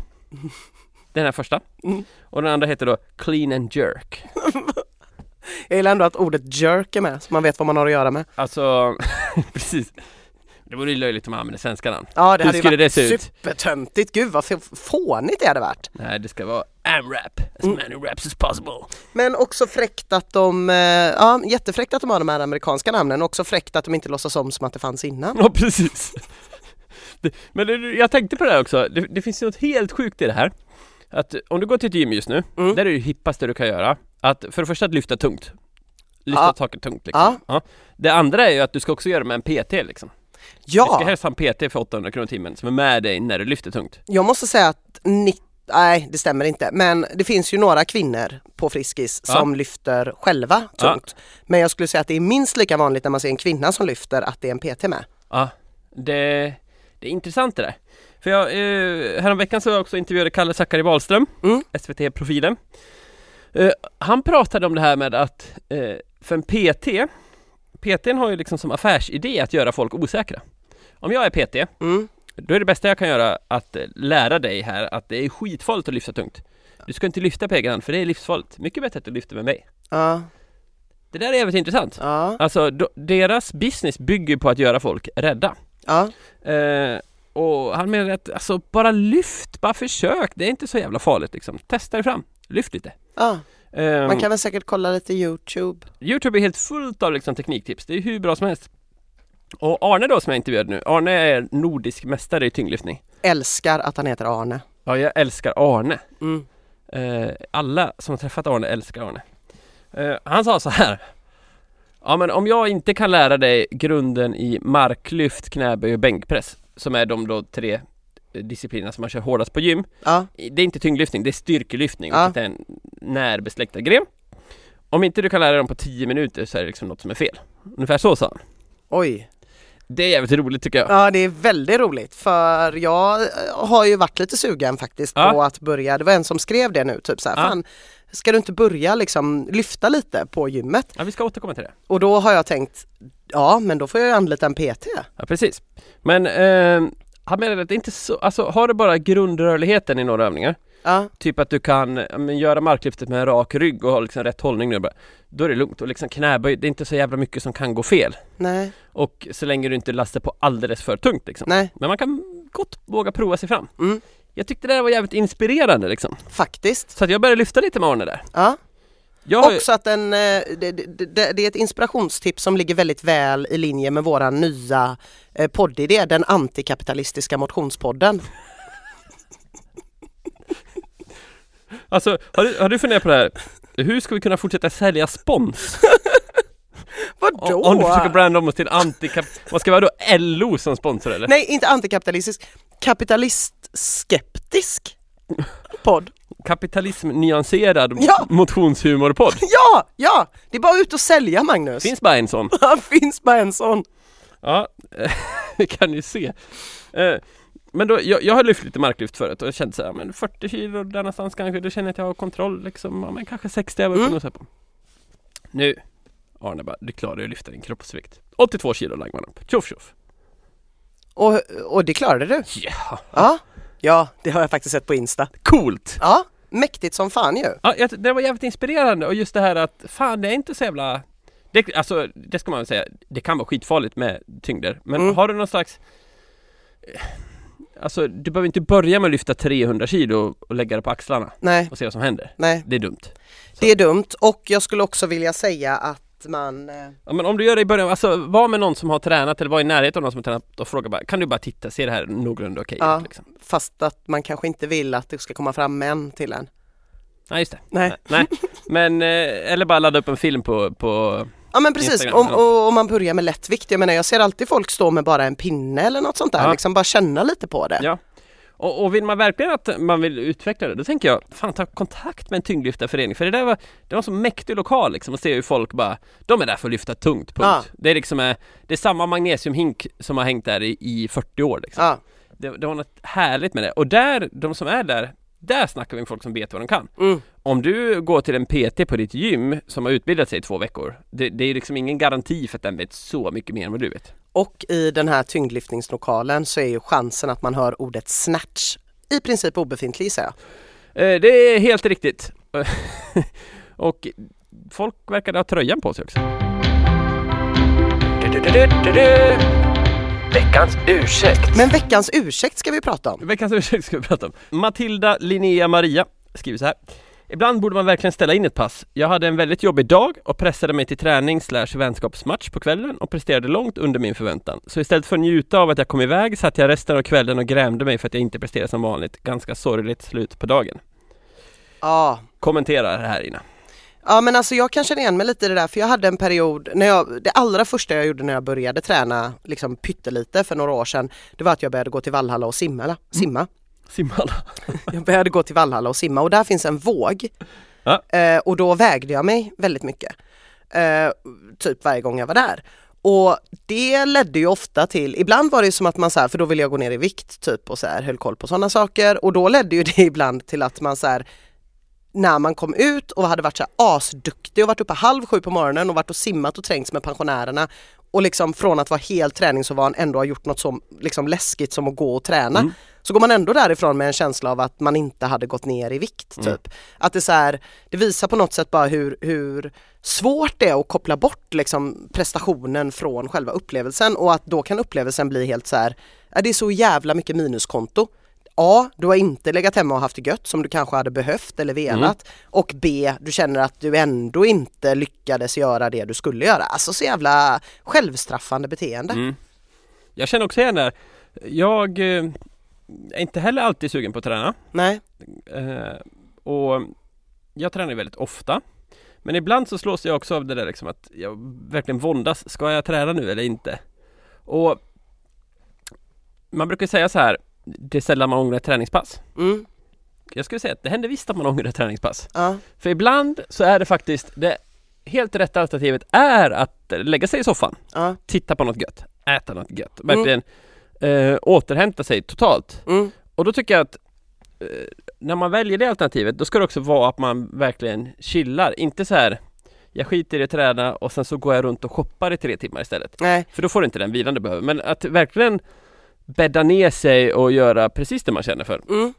S2: Den här första.
S1: Mm.
S2: Och den andra heter då Clean and Jerk.
S1: Jag gillar ändå att ordet jerk är med så man vet vad man har att göra med.
S2: Alltså, precis. Det vore ju löjligt om man använde svenska namn.
S1: Ja det
S2: Hur
S1: hade ju
S2: skulle
S1: varit
S2: det se ut?
S1: supertöntigt. Gud vad f- fånigt det hade varit.
S2: Nej, det ska vara AMRAP, as many raps as possible.
S1: Men också fräckt att de, eh, ja jättefräckt att de har de här amerikanska namnen och också fräckt att de inte låtsas om som att det fanns innan.
S2: Ja, precis. Det, men det, jag tänkte på det här också, det, det finns ju något helt sjukt i det här. Att om du går till ett gym just nu,
S1: Mm.
S2: där är det ju hippaste du kan göra. Att för det första att lyfta tungt. Lyfta
S1: Ja.
S2: taket tungt liksom. Ja. Det andra är ju att du ska också göra det med en PT liksom. Du ska
S1: Ja,
S2: helst ha en PT för 800 kronor i timmen som är med dig när du lyfter tungt.
S1: jag måste säga att ni- Nej, det stämmer inte. Men det finns ju några kvinnor på Friskis
S2: Ja.
S1: som lyfter själva
S2: Ja.
S1: tungt. Men jag skulle säga att det är minst lika vanligt när man ser en kvinna som lyfter att det är en PT med.
S2: Ja, det, det är intressant det där. För jag, eh, häromveckan så också intervjuade Kalle Zackari Wahlström,
S1: Mm.
S2: SVT-profilen. Eh, han pratade om det här med att, eh, för en PT, PTn har ju liksom som affärsidé att göra folk osäkra. Om jag är PT,
S1: Mm.
S2: då är det bästa jag kan göra att eh, lära dig här att det är skitfarligt att lyfta tungt. Du ska inte lyfta på egen hand, för det är livsfarligt. Mycket bättre att du lyfter med mig.
S1: Ja,
S2: Det där är jävligt intressant.
S1: ja,
S2: Alltså, do, deras business bygger ju på att göra folk rädda.
S1: ja.
S2: Eh, och han menar att alltså, bara lyft, bara försök. Det är inte så jävla farligt liksom. Testa dig fram, lyft lite.
S1: ja.
S2: Eh,
S1: Man kan väl säkert kolla lite YouTube.
S2: Youtube är helt fullt av liksom, tekniktips. Det är hur bra som helst. Och Arne då som jag intervjuade nu, Arne är nordisk mästare i tyngdlyftning.
S1: Älskar att han heter Arne.
S2: Ja, jag älskar Arne.
S1: Mm.
S2: Eh, alla som har träffat Arne älskar Arne. Eh, han sa så här. Ja men om jag inte kan lära dig grunden i marklyft, knäböj och bänkpress som är de då tre eh, disciplinerna som man kör hårdast på gym.
S1: Ja,
S2: Det är inte tyngdlyftning, det är styrkelyftning,
S1: Ja.
S2: vilket är en närbesläktad gren. Om inte du kan lära dig dem på 10 minuter så är det liksom något som är fel. Ungefär så sa han.
S1: oj.
S2: Det är jävligt roligt tycker jag.
S1: Ja det är väldigt roligt för jag eh, har ju varit lite sugen faktiskt
S2: Ja.
S1: på att börja, det var en som skrev det nu typ så här,
S2: Ja.
S1: fan ska du inte börja liksom lyfta lite på gymmet?
S2: Ja, vi ska återkomma till det.
S1: Och då har jag tänkt, ja men då får jag ju anlita en PT.
S2: Ja precis. Men eh, han menar att det är inte så, alltså har du bara grundrörligheten i några övningar,
S1: Ja,
S2: typ att du kan ja, men, göra marklyftet med en rak rygg och ha liksom rätt hållning nu bara, då är det lugnt och liksom knäböj, det är inte så jävla mycket som kan gå fel.
S1: nej,
S2: Och så länge du inte lastar på alldeles för tungt liksom.
S1: nej,
S2: Men man kan gott våga prova sig fram.
S1: Mm.
S2: Jag tyckte det där var jävligt inspirerande liksom.
S1: faktiskt.
S2: Så att jag började lyfta lite med Arne där.
S1: Ja.
S2: Jag har ju-
S1: Också att den, eh, det, det, det, det är ett inspirationstips som ligger väldigt väl i linje med våran nya eh, poddidé, den antikapitalistiska motionspodden.
S2: alltså, har du, har du funderat på det här? Hur ska vi kunna fortsätta sälja spons? Om- Om du försöker branda om oss till antikap... Vad ska vi ha då? LO som sponsor eller?
S1: Nej, inte antikapitalistisk, kapitalistskeptisk podd.
S2: Kapitalism nyanserad
S1: Ja!
S2: motionshumorpodd.
S1: Ja, ja, det är bara ut och sälja Magnus.
S2: Finns bara en sån.
S1: Ja, finns bara en sån.
S2: Ja, vi kan ju se. Eh, Men då, jag, jag har lyft lite marklyft förut och jag kände så här, men 40 kilo där någonstans kanske, då känner jag att jag har kontroll liksom. Ja, men kanske 60 jag
S1: Mm.
S2: mm. på. Nu, Arne bara, du klarar ju att lyfta din kroppsvikt. 82 kilo lagg man upp. Tjoff tjoff.
S1: Och, och det klarade du.
S2: Ja,
S1: Ja, ja, det har jag faktiskt sett på Insta.
S2: coolt!
S1: Ja, mäktigt som fan ju.
S2: Ja, jag, det var jävligt inspirerande och just det här att fan det är inte så jävla det, Alltså det ska man väl säga, det kan vara skitfarligt med tyngder men
S1: Mm.
S2: har du någon slags Alltså du behöver inte börja med att lyfta 300 kilo och lägga det på axlarna
S1: Nej,
S2: och se vad som händer.
S1: nej,
S2: Det är dumt.
S1: det är dumt och jag skulle också vilja säga att man eh,
S2: Ja, men om du gör det i början, alltså var med någon som har tränat eller var i närheten av någon som har tränat och fråga bara kan du bara titta, ser det här någorlunda okej
S1: Ja.
S2: ut liksom?
S1: fast att man kanske inte vill att det ska komma fram män till en.
S2: Nej just det.
S1: Nej.
S2: Nej. Men eh, eller bara ladda upp en film på, på
S1: Ja men precis,
S2: Instagram
S1: om,
S2: eller något.
S1: och, om man börjar med lättvikt. Jag menar jag ser alltid folk stå med bara en pinne eller något sånt där,
S2: Ja.
S1: liksom bara känna lite på det.
S2: Ja. Och, och vill man verkligen att man vill utveckla det, då tänker jag fan ta kontakt med en tyngdlyftarförening för det där var Det var en så mäktig lokal liksom och se hur folk bara De är där för att lyfta tungt, punkt.
S1: Ja.
S2: Det är liksom eh, Det är samma magnesiumhink som har hängt där i, i 40 år liksom.
S1: Ja.
S2: det, det var något härligt med det och där, de som är där Där snackar vi med folk som vet vad de kan
S1: Mm.
S2: Om du går till en PT på ditt gym som har utbildat sig i två veckor Det, det är liksom ingen garanti för att den vet så mycket mer än vad du vet
S1: Och i den här tyngdlyftningslokalen så är ju chansen att man hör ordet snatch i princip obefintlig gissar jag.
S2: Eh, Det är helt riktigt. Och folk verkade ha tröjan på sig också.
S3: Veckans ursäkt.
S1: Men veckans ursäkt ska vi prata om.
S2: Veckans ursäkt ska vi prata om. Matilda Linnea Maria skriver så här. Ibland borde man verkligen ställa in ett pass. Jag hade en väldigt jobbig dag och pressade mig till träning slash vänskapsmatch på kvällen och presterade långt under min förväntan. Så istället för att njuta av att jag kom iväg satt jag resten av kvällen och grämde mig för att jag inte presterade som vanligt. Ganska sorgligt slut på dagen.
S1: Ja.
S2: Kommentera det här Ina.
S1: Ja men alltså jag kan känna igen mig lite i det där för jag hade en period, när jag, det allra första jag gjorde när jag började träna liksom pyttelite för några år sedan, det var att jag började gå till Vallhalla och simma. simma.
S2: Simhalla.
S1: Jag började gå till Vallhalla och simma och där finns en våg.
S2: Ja.
S1: Eh, och då vägde jag mig väldigt mycket. Eh, typ varje gång jag var där. Och det ledde ju ofta till, ibland var det ju som att man så här, för då ville jag gå ner i vikt typ och så här höll koll på sådana saker och då ledde ju det ibland till att man så här när man kom ut och hade varit så här asduktig och varit uppe halv sju på morgonen och varit och simmat och trängts med pensionärerna och liksom från att vara helt träningsovan ändå har gjort något så liksom läskigt som att gå och träna. Så går man ändå därifrån med en känsla av att man inte hade gått ner i vikt. Typ. Att det, så här, det visar på något sätt bara hur, hur svårt det är att koppla bort liksom, prestationen från själva upplevelsen och att då kan upplevelsen bli helt så här, "Ja, det är så jävla mycket minuskonto. A. Du har inte legat hemma och haft det gött som du kanske hade behövt eller velat. Och B. Du känner att du ändå inte lyckades göra det du skulle göra. Alltså så jävla självstraffande beteende.
S2: Mm. Jag känner också igen det här. Jag eh, är inte heller alltid sugen på att träna
S1: Nej.
S2: eh, och jag tränar ju väldigt ofta Men ibland så slås jag också av det där liksom att jag verkligen våndas. Ska jag träna nu eller inte? Och man brukar säga så här, det är sällan man ångrar ett träningspass.
S1: Mm.
S2: Jag skulle säga att det händer visst att man ångrar ett träningspass.
S1: Ja.
S2: För ibland så är det faktiskt det helt rätta alternativet är att lägga sig i soffan,
S1: Ja.
S2: titta på något gött, äta något gött, verkligen eh, återhämta sig totalt.
S1: Mm.
S2: Och då tycker jag att eh, när man väljer det alternativet, då ska det också vara att man verkligen chillar, inte så här jag skiter i att träna och sen så går jag runt och shoppar i tre timmar istället.
S1: Nej.
S2: För då får du inte den vilan du behöver. Men att verkligen bädda ner sig och göra precis det man känner för
S1: Mm.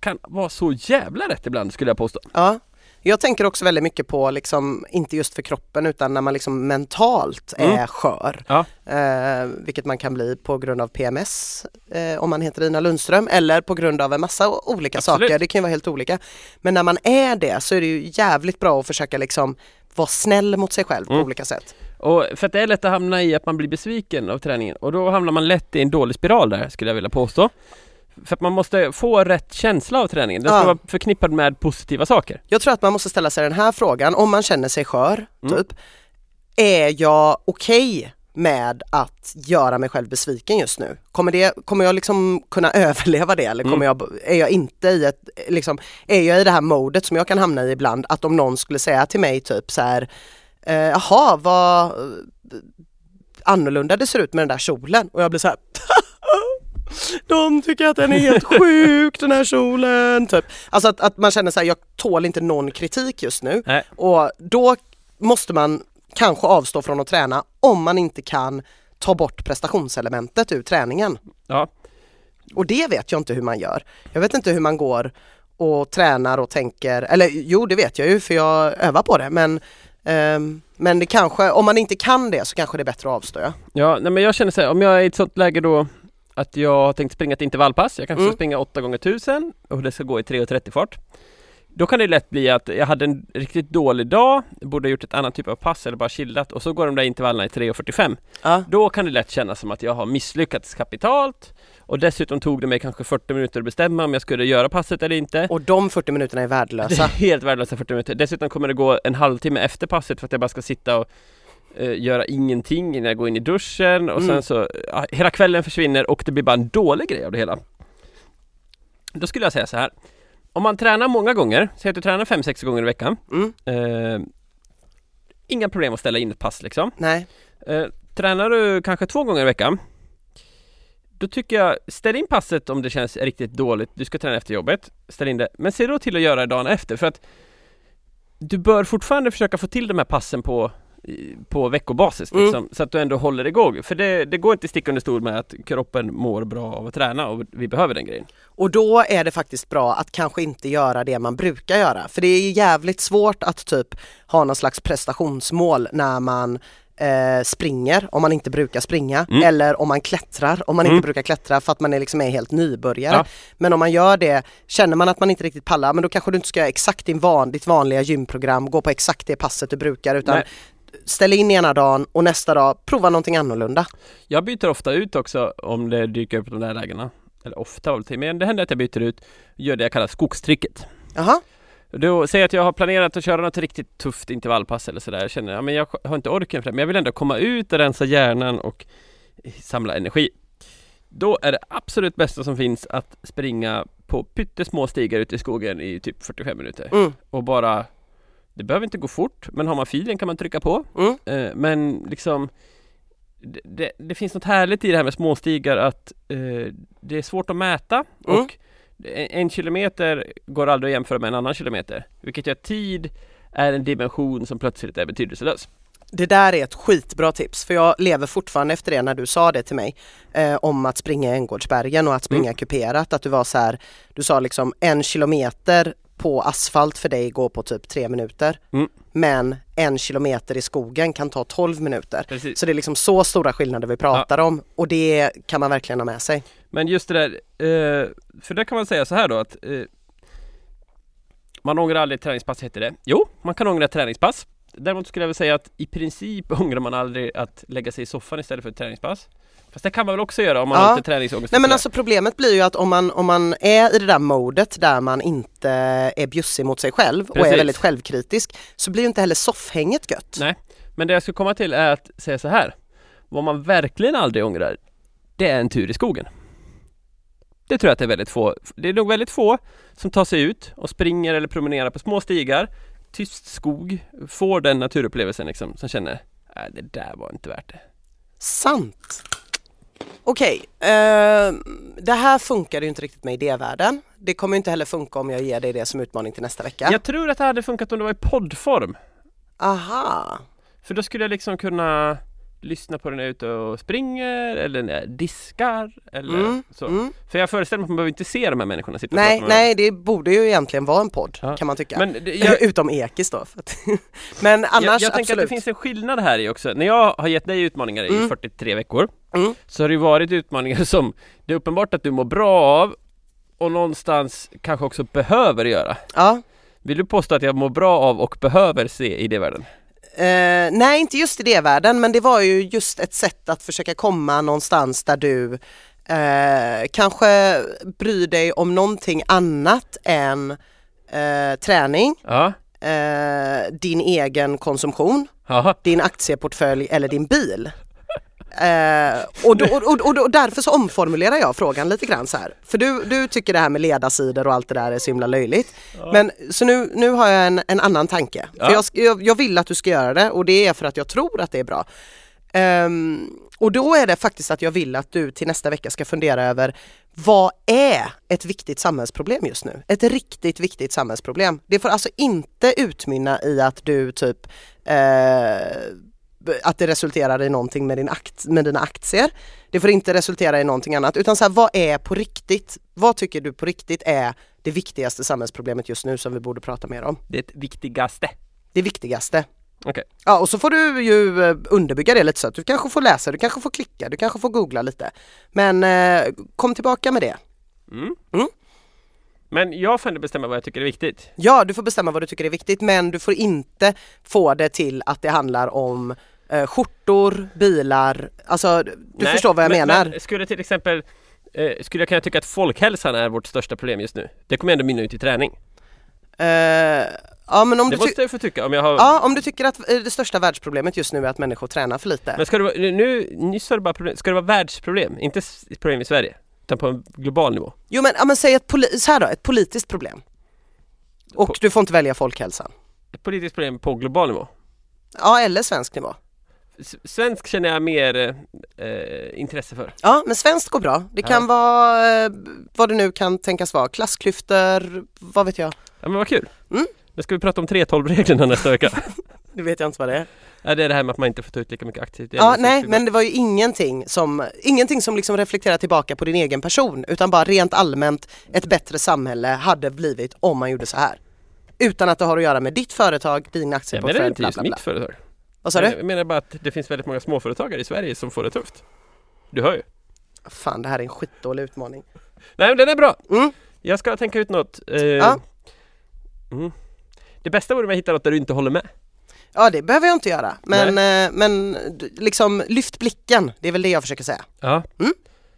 S2: kan vara så jävla rätt ibland skulle jag påstå.
S1: Ja. Jag tänker också väldigt mycket på, liksom, inte just för kroppen utan när man liksom mentalt
S2: Mm.
S1: är skör.
S2: Ja.
S1: Eh, vilket man kan bli på grund av PMS eh, om man heter Ina Lundström eller på grund av en massa o- olika
S2: Absolut.
S1: saker. Det kan ju vara helt olika. Men när man är det så är det ju jävligt bra att försöka liksom vara snäll mot sig själv
S2: Mm.
S1: på olika sätt.
S2: Och för att det är lätt att hamna i att man blir besviken av träningen och då hamnar man lätt i en dålig spiral där skulle jag vilja påstå. För att man måste få rätt känsla av träningen. Den ska
S1: Ja.
S2: vara förknippad med positiva saker.
S1: Jag tror att man måste ställa sig den här frågan om man känner sig skör,
S2: Mm.
S1: typ. Är jag okej med att göra mig själv besviken just nu? Kommer, det, kommer jag liksom kunna överleva det eller kommer jag, är jag inte i ett, liksom, är jag i det här modet som jag kan hamna i ibland att om någon skulle säga till mig typ så här, eh, jaha vad eh, annorlunda det ser ut med den där kjolen och jag blir så här de tycker att den är helt sjuk den här kjolen. Typ. Alltså att, att man känner så här, jag tål inte någon kritik just nu.
S2: Nej.
S1: Och då måste man kanske avstå från att träna om man inte kan ta bort prestationselementet ur träningen.
S2: Ja.
S1: Och det vet jag inte hur man gör. Jag vet inte hur man går och tränar och tänker, eller jo det vet jag ju för jag övar på det men ehm, men det kanske, om man inte kan det så kanske det är bättre att avstå. Ja.
S2: Ja, nej men jag känner så här, om jag är i ett sånt läge då att jag har tänkt springa ett intervallpass, jag kanske
S1: Mm.
S2: ska springa 8 gånger 1000 och det ska gå i 3.30 fart. Då kan det lätt bli att jag hade en riktigt dålig dag, borde ha gjort ett annat typ av pass eller bara chillat och så går de där intervallerna i 3.45.
S1: Ja.
S2: Då kan det lätt kännas som att jag har misslyckats kapitalt och dessutom tog det mig kanske 40 minuter att bestämma om jag skulle göra passet eller inte.
S1: Och de 40 minuterna är
S2: Det
S1: värdelösa.
S2: är helt värdelösa 40 minuter. Dessutom kommer det gå en halvtimme efter passet för att jag bara ska sitta och eh, göra ingenting innan jag går in i duschen och
S1: Mm.
S2: sen så, ja, hela kvällen försvinner och det blir bara en dålig grej av det hela. Då skulle jag säga så här. Om man tränar många gånger, säg att du tränar 5-6 gånger i veckan.
S1: Mm.
S2: Eh, inga problem att ställa in ett pass liksom.
S1: Nej.
S2: Eh, tränar du kanske två gånger i veckan? Då tycker jag, ställ in passet om det känns riktigt dåligt. Du ska träna efter jobbet. Ställ in det. Men se då till att göra det dagen efter för att du bör fortfarande försöka få till de här passen på, i- på veckobasis
S1: Mm.
S2: liksom, så att du ändå håller igång. För det, det går inte att sticka under stol med att kroppen mår bra av att träna och vi behöver den grejen.
S1: Och då är det faktiskt bra att kanske inte göra det man brukar göra. För det är ju jävligt svårt att typ ha någon slags prestationsmål när man eh, springer om man inte brukar springa
S2: Mm.
S1: eller om man klättrar om man
S2: Mm.
S1: inte brukar klättra för att man är liksom är helt nybörjare.
S2: Ja.
S1: Men om man gör det, känner man att man inte riktigt pallar, men då kanske du inte ska göra exakt din van, ditt vanliga gymprogram, gå på exakt det passet du brukar utan
S2: Nej.
S1: ställ in ena dagen och nästa dag prova någonting annorlunda.
S2: Jag byter ofta ut också om det dyker upp de där lägena. Eller ofta, men det händer att jag byter ut, gör det jag kallar skogstricket.
S1: Jaha,
S2: Då, säg att jag har planerat att köra något riktigt tufft intervallpass eller sådär. Jag känner, ja men jag har inte orken för det. Men jag vill ändå komma ut och rensa hjärnan och eh, samla energi. Då är det absolut bästa som finns att springa på pyttesmå stigar ute i skogen i typ 45 minuter.
S1: mm,
S2: Och bara, det behöver inte gå fort, men har man filen kan man trycka på.
S1: mm,
S2: Eh, men liksom det, det, det finns något härligt i det här med småstigar att eh, det är svårt att mäta
S1: Mm.
S2: och en, en kilometer går aldrig att jämföra med en annan kilometer. Vilket gör att tid är en dimension som plötsligt är betydelselös.
S1: Det där är ett skitbra tips för jag lever fortfarande efter det när du sa det till mig eh, om att springa i Änggårdsbergen och att springa
S2: Mm.
S1: kuperat. Att du var så här, du sa liksom en kilometer på asfalt för dig går på typ tre minuter.
S2: Mm.
S1: Men en kilometer i skogen kan ta 12 minuter.
S2: Precis.
S1: Så det är liksom så stora skillnader vi pratar om och det kan man verkligen ha med sig.
S2: Men just det där, eh, för där kan man säga så här då att eh, man ångrar aldrig ett träningspass heter det. Jo, man kan ångra ett träningspass. Däremot skulle jag vilja säga att i princip ångrar man aldrig att lägga sig i soffan istället för ett träningspass. Fast det kan man väl också göra om man
S1: Ja.
S2: har lite träningsångest? och
S1: Nej men
S2: sådär.
S1: alltså problemet blir ju att om man, om man är i det där modet där man inte är bjussig mot sig själv och
S2: Precis.
S1: är väldigt självkritisk så blir ju inte heller soffhänget gött.
S2: Nej. Men det jag skulle komma till är att säga så här. Vad man verkligen aldrig ångrar, det är en tur i skogen. Det tror jag att det är väldigt få. Det är nog väldigt få som tar sig ut och springer eller promenerar på små stigar, tyst skog, får den naturupplevelsen liksom, som känner Nej, det där var inte värt det.
S1: Sant! Okej, eh, det här funkar ju inte riktigt med idévärlden. Det kommer ju inte heller funka om jag ger dig det som utmaning till nästa vecka.
S2: Jag tror att det hade funkat om det var i poddform.
S1: Aha!
S2: För då skulle jag liksom kunna lyssna på den när jag är ute och springer eller när jag diskar eller
S1: Mm,
S2: så.
S1: mm.
S2: För jag föreställer mig att man behöver inte se de här människorna sitta och prata
S1: Nej,
S2: med
S1: nej, det borde ju egentligen vara en podd
S2: Ja.
S1: kan man tycka.
S2: varandra. Men det, jag,
S1: Utom Ekis då. För att men
S2: jag,
S1: annars
S2: jag tänker att det
S1: absolut.
S2: finns en skillnad här i också. När jag har gett dig utmaningar i
S1: Mm.
S2: 43 veckor
S1: Mm.
S2: så har det ju varit utmaningar som det är uppenbart att du mår bra av och någonstans kanske också behöver göra.
S1: Ja.
S2: Vill du påstå att jag mår bra av och behöver se i det världen?
S1: Eh, nej, inte just i det världen, men det var ju just ett sätt att försöka komma någonstans där du eh, kanske bryr dig om någonting annat än eh, träning,
S2: Ja,
S1: eh, din egen konsumtion,
S2: Jaha.
S1: din aktieportfölj eller din bil. Eh, och, då, och, och, och därför så omformulerar jag frågan lite grann så här. För du, du tycker det här med ledarsidor och allt det där är så himla löjligt. Men så nu, nu har jag en, en annan tanke.
S2: Ja.
S1: För jag, sk- jag, jag vill att du ska göra det och det är för att jag tror att det är bra. Ehm, och då är det faktiskt att jag vill att du till nästa vecka ska fundera över vad är ett viktigt samhällsproblem just nu? Ett riktigt viktigt samhällsproblem. Det får alltså inte utmynna i att du typ eh, b- att det resulterar i någonting med, din akt, med dina aktier. Det får inte resultera i någonting annat utan så här, vad är på riktigt? Vad tycker du på riktigt är det viktigaste samhällsproblemet just nu som vi borde prata mer om?
S2: Det är ett viktigaste.
S1: Det viktigaste.
S2: Okej.
S1: Ja och så får du ju eh, underbygga det lite så att du kanske får läsa, du kanske får klicka, du kanske får googla lite. Men eh, kom tillbaka med det.
S2: Men jag får ändå bestämma vad jag tycker är viktigt.
S1: Ja, du får bestämma vad du tycker är viktigt men du får inte få det till att det handlar om eh, skjortor, bilar, alltså du
S2: Nej,
S1: förstår vad jag
S2: men,
S1: menar.
S2: Men skulle till exempel eh, skulle jag kunna tycka att folkhälsan är vårt största problem just nu? Det kommer ändå mynna ut i träning.
S1: Eh, ja, men om du,
S2: Det
S1: ty-
S2: måste jag få tycka om jag har...
S1: ja, om du tycker att eh, det största världsproblemet just nu är att människor tränar för lite.
S2: Men ska det vara, nu, nyss var det bara problem, ska det vara världsproblem? Inte s- ett problem i Sverige, utan på en global nivå.
S1: Jo men, ja, men säg ett, poli- så här då, ett politiskt problem. Och
S2: Po-
S1: du får inte välja folkhälsan.
S2: Ett politiskt problem på global nivå.
S1: Ja, eller svensk nivå.
S2: S- svensk känner jag mer eh, eh, intresse för.
S1: Ja, men svenskt går bra. Det kan
S2: Ja.
S1: vara eh, vad det nu kan tänkas vara, klassklyftor, vad vet jag.
S2: Ja men vad kul!
S1: Mm.
S2: Men ska vi prata om 3.12-reglerna nästa vecka?
S1: Nu vet jag inte vad det är.
S2: ja, det är det här med att man inte får ta ut lika mycket aktier. Det är
S1: Ja,
S2: väl
S1: nej,
S2: så-
S1: men det var ju ingenting som, ingenting som liksom reflekterar tillbaka på din egen person utan bara rent allmänt ett bättre samhälle hade blivit om man gjorde så här. Utan att det har att göra med ditt företag, din
S2: Jag menar
S1: aktieportfölj,
S2: inte
S1: bla
S2: just
S1: bla bla.
S2: mitt företag.
S1: Vad sa du?
S2: Jag menar bara att det finns väldigt många småföretagare i Sverige som får det tufft. Du hör ju.
S1: Fan, det här är en skitdålig utmaning.
S2: Nej men den är bra!
S1: Mm.
S2: Jag ska tänka ut något. Eh,
S1: Ja.
S2: mm. Det bästa vore om jag hittar något där du inte håller med.
S1: Ja, det behöver jag inte göra. Men, eh, men du- liksom lyft blicken, det är väl det jag försöker säga.
S2: Ja.
S1: Mm.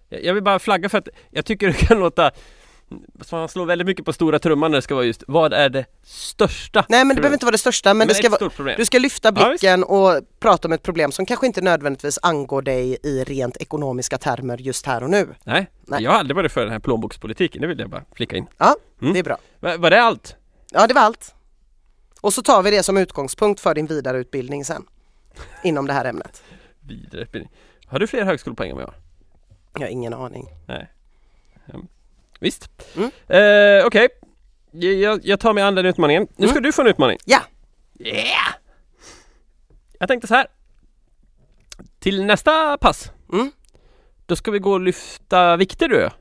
S2: Jag jag vill bara flagga för att jag tycker det kan låta som han slår väldigt mycket på stora trumman när det ska vara just vad är det största?
S1: Nej, men det
S2: problemet?
S1: behöver inte vara det största, Mm. men, det
S2: är
S1: ska
S2: ett
S1: vara
S2: stort problem.
S1: du ska lyfta
S2: Ja, visst.
S1: blicken och prata om ett problem som kanske inte nödvändigtvis angår dig i rent ekonomiska termer just här och nu.
S2: Nej.
S1: Nej.
S2: jag har aldrig varit för den här plånbokspolitiken, det vill jag bara flika in.
S1: Ja,
S2: Mm.
S1: det är bra.
S2: Va- Var det allt?
S1: Ja, det var allt. Och så tar vi det som utgångspunkt för din vidareutbildning sen. Inom det här ämnet.
S2: Vidareutbildning. Har du fler högskolepoäng än vad jag har?
S1: Jag har ingen aning.
S2: Visst.
S1: Mm.
S2: Eh, Okej, Jag- jag, jag tar mig an den utmaningen. Nu ska
S1: Mm.
S2: du få en utmaning.
S1: Ja,
S2: Yeah! Jag tänkte så här. Till nästa pass.
S1: Mm.
S2: Då ska vi gå och lyfta vikter du och jag.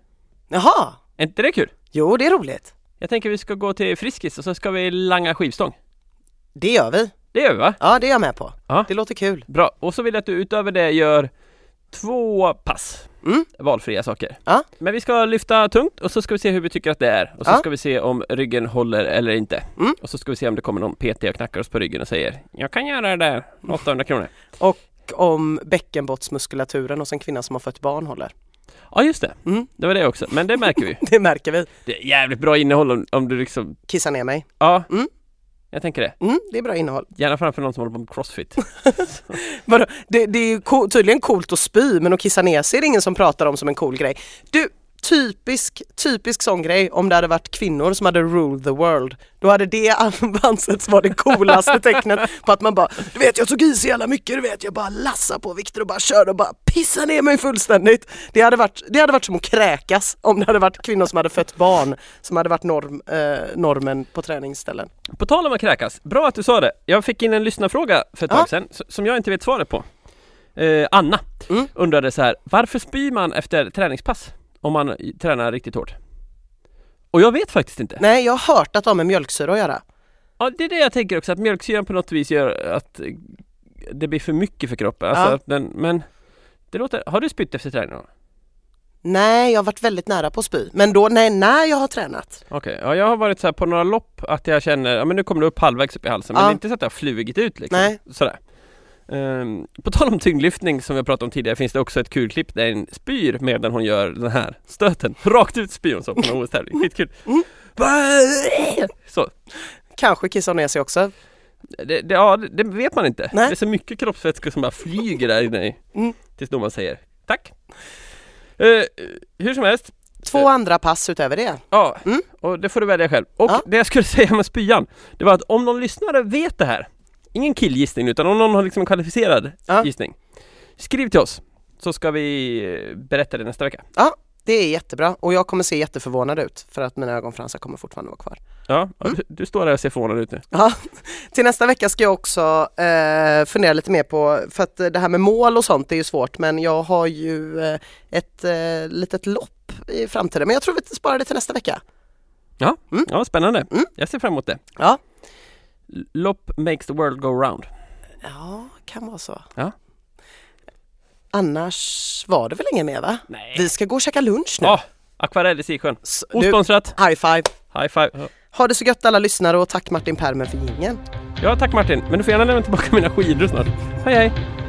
S1: jaha.
S2: Är inte det kul?
S1: Jo, det är roligt.
S2: Jag tänker vi ska gå till Friskis och så ska vi langa skivstång.
S1: Det gör vi.
S2: Det gör vi va?
S1: Ja, det är jag med på.
S2: Ja.
S1: Det låter kul.
S2: Bra. Och så vill jag att du utöver det gör två pass.
S1: Mm.
S2: Valfria saker.
S1: Ja.
S2: Men vi ska lyfta tungt och så ska vi se hur vi tycker att det är. Och så
S1: Ja.
S2: ska vi se om ryggen håller eller inte.
S1: Mm.
S2: Och så ska vi se om det kommer någon PT och knackar oss på ryggen och säger Jag kan göra det där, 800 kronor.
S1: Och om bäckenbottsmuskulaturen hos en kvinna som har fött barn håller.
S2: Ja just det,
S1: Mm.
S2: det var det också. Men det märker vi ju.
S1: Det märker vi.
S2: Det är jävligt bra innehåll om, om du liksom,
S1: Kissa ner mig.
S2: ja.
S1: Mm.
S2: Jag tänker det.
S1: Mm, det är bra innehåll.
S2: Gärna framför någon som håller på med crossfit.
S1: Vadå? Det, det är ju co- tydligen coolt att spy men att kissa ner sig är det ingen som pratar om som en cool grej. Du, typisk, typisk sån grej om det hade varit kvinnor som hade ruled the world. Då hade det ansetts vara det coolaste tecknet på att man bara, du vet jag tog i så jävla mycket, du vet jag bara lassar på vikter och bara kör och bara pissar ner mig fullständigt. Det hade varit, det hade varit som att kräkas om det hade varit kvinnor som hade fött barn som hade varit norm, eh, normen på träningsställen.
S2: På tal om att kräkas, bra att du sa det. Jag fick in en lyssnarfråga för ett
S1: Ja.
S2: tag sedan, s- som jag inte vet svaret på. Eh, Anna
S1: Mm.
S2: undrade så här, varför spyr man efter träningspass? Om man i- tränar riktigt hårt? Och jag vet faktiskt inte.
S1: Nej, jag har hört att de har med mjölksyra att göra.
S2: Ja, det är det jag tänker också, att mjölksyran på något vis gör att eh, det blir för mycket för kroppen. Alltså,
S1: Ja.
S2: att den, men det låter, har du spytt efter träning? någon gång?
S1: Nej, jag har varit väldigt nära på att spy. Men då, nej, när jag har tränat.
S2: Okej, ja, jag har varit så här på några lopp att jag känner, ja men nu kommer det upp halvvägs upp i halsen, men
S1: Ja.
S2: det är inte så att det har flugit ut liksom.
S1: Nej.
S2: Sådär. Ehm, på tal om tyngdlyftning som jag pratade om tidigare finns det också ett kul klipp där en spyr medan hon gör den här stöten. Rakt ut spyr hon så på en OS-tävling, skitkul.
S1: Mm.
S2: Så,
S1: Kanske kissar ner sig också.
S2: det, det, ja, det det vet man inte.
S1: Nej.
S2: Det är så mycket kroppsvätskor som bara flyger där inne i,
S1: Mm.
S2: tills domaren säger tack. Eh, hur som helst,
S1: Två andra pass utöver det.
S2: Ja,
S1: Mm.
S2: och det får du välja själv. Och
S1: Ja.
S2: det jag skulle säga med spyan, det var att om någon lyssnare vet det här, ingen killgissning utan om någon har liksom en kvalificerad
S1: Ja.
S2: gissning, skriv till oss så ska vi eh, berätta det nästa vecka.
S1: Ja, det är jättebra. Och jag kommer se jätteförvånad ut för att mina ögonfransar kommer fortfarande vara kvar.
S2: Ja, ja, du, du står där och ser förvånad ut nu.
S1: Ja. Till nästa vecka ska jag också eh, fundera lite mer på, för att eh, det här med mål och sånt är ju svårt, men jag har ju eh, ett eh, litet lopp i framtiden. Men jag tror vi sparar det till nästa vecka.
S2: Ja,
S1: Mm.
S2: ja spännande.
S1: Mm.
S2: Jag ser fram emot det.
S1: Ja,
S2: L- Lopp makes the world go round.
S1: ja kan vara så.
S2: Ja.
S1: Annars var det väl inget mer va?
S2: Nej.
S1: Vi ska gå och käka lunch nu.
S2: Ja, akvarell i Sisjön.
S1: S- du-
S2: Osponsrat,
S1: High five!
S2: high five.
S1: Ha det så gött alla lyssnare och tack Martin Permer för jingeln.
S2: Ja, tack Martin. Men du får gärna lämna tillbaka mina skidor snart. Hej hej!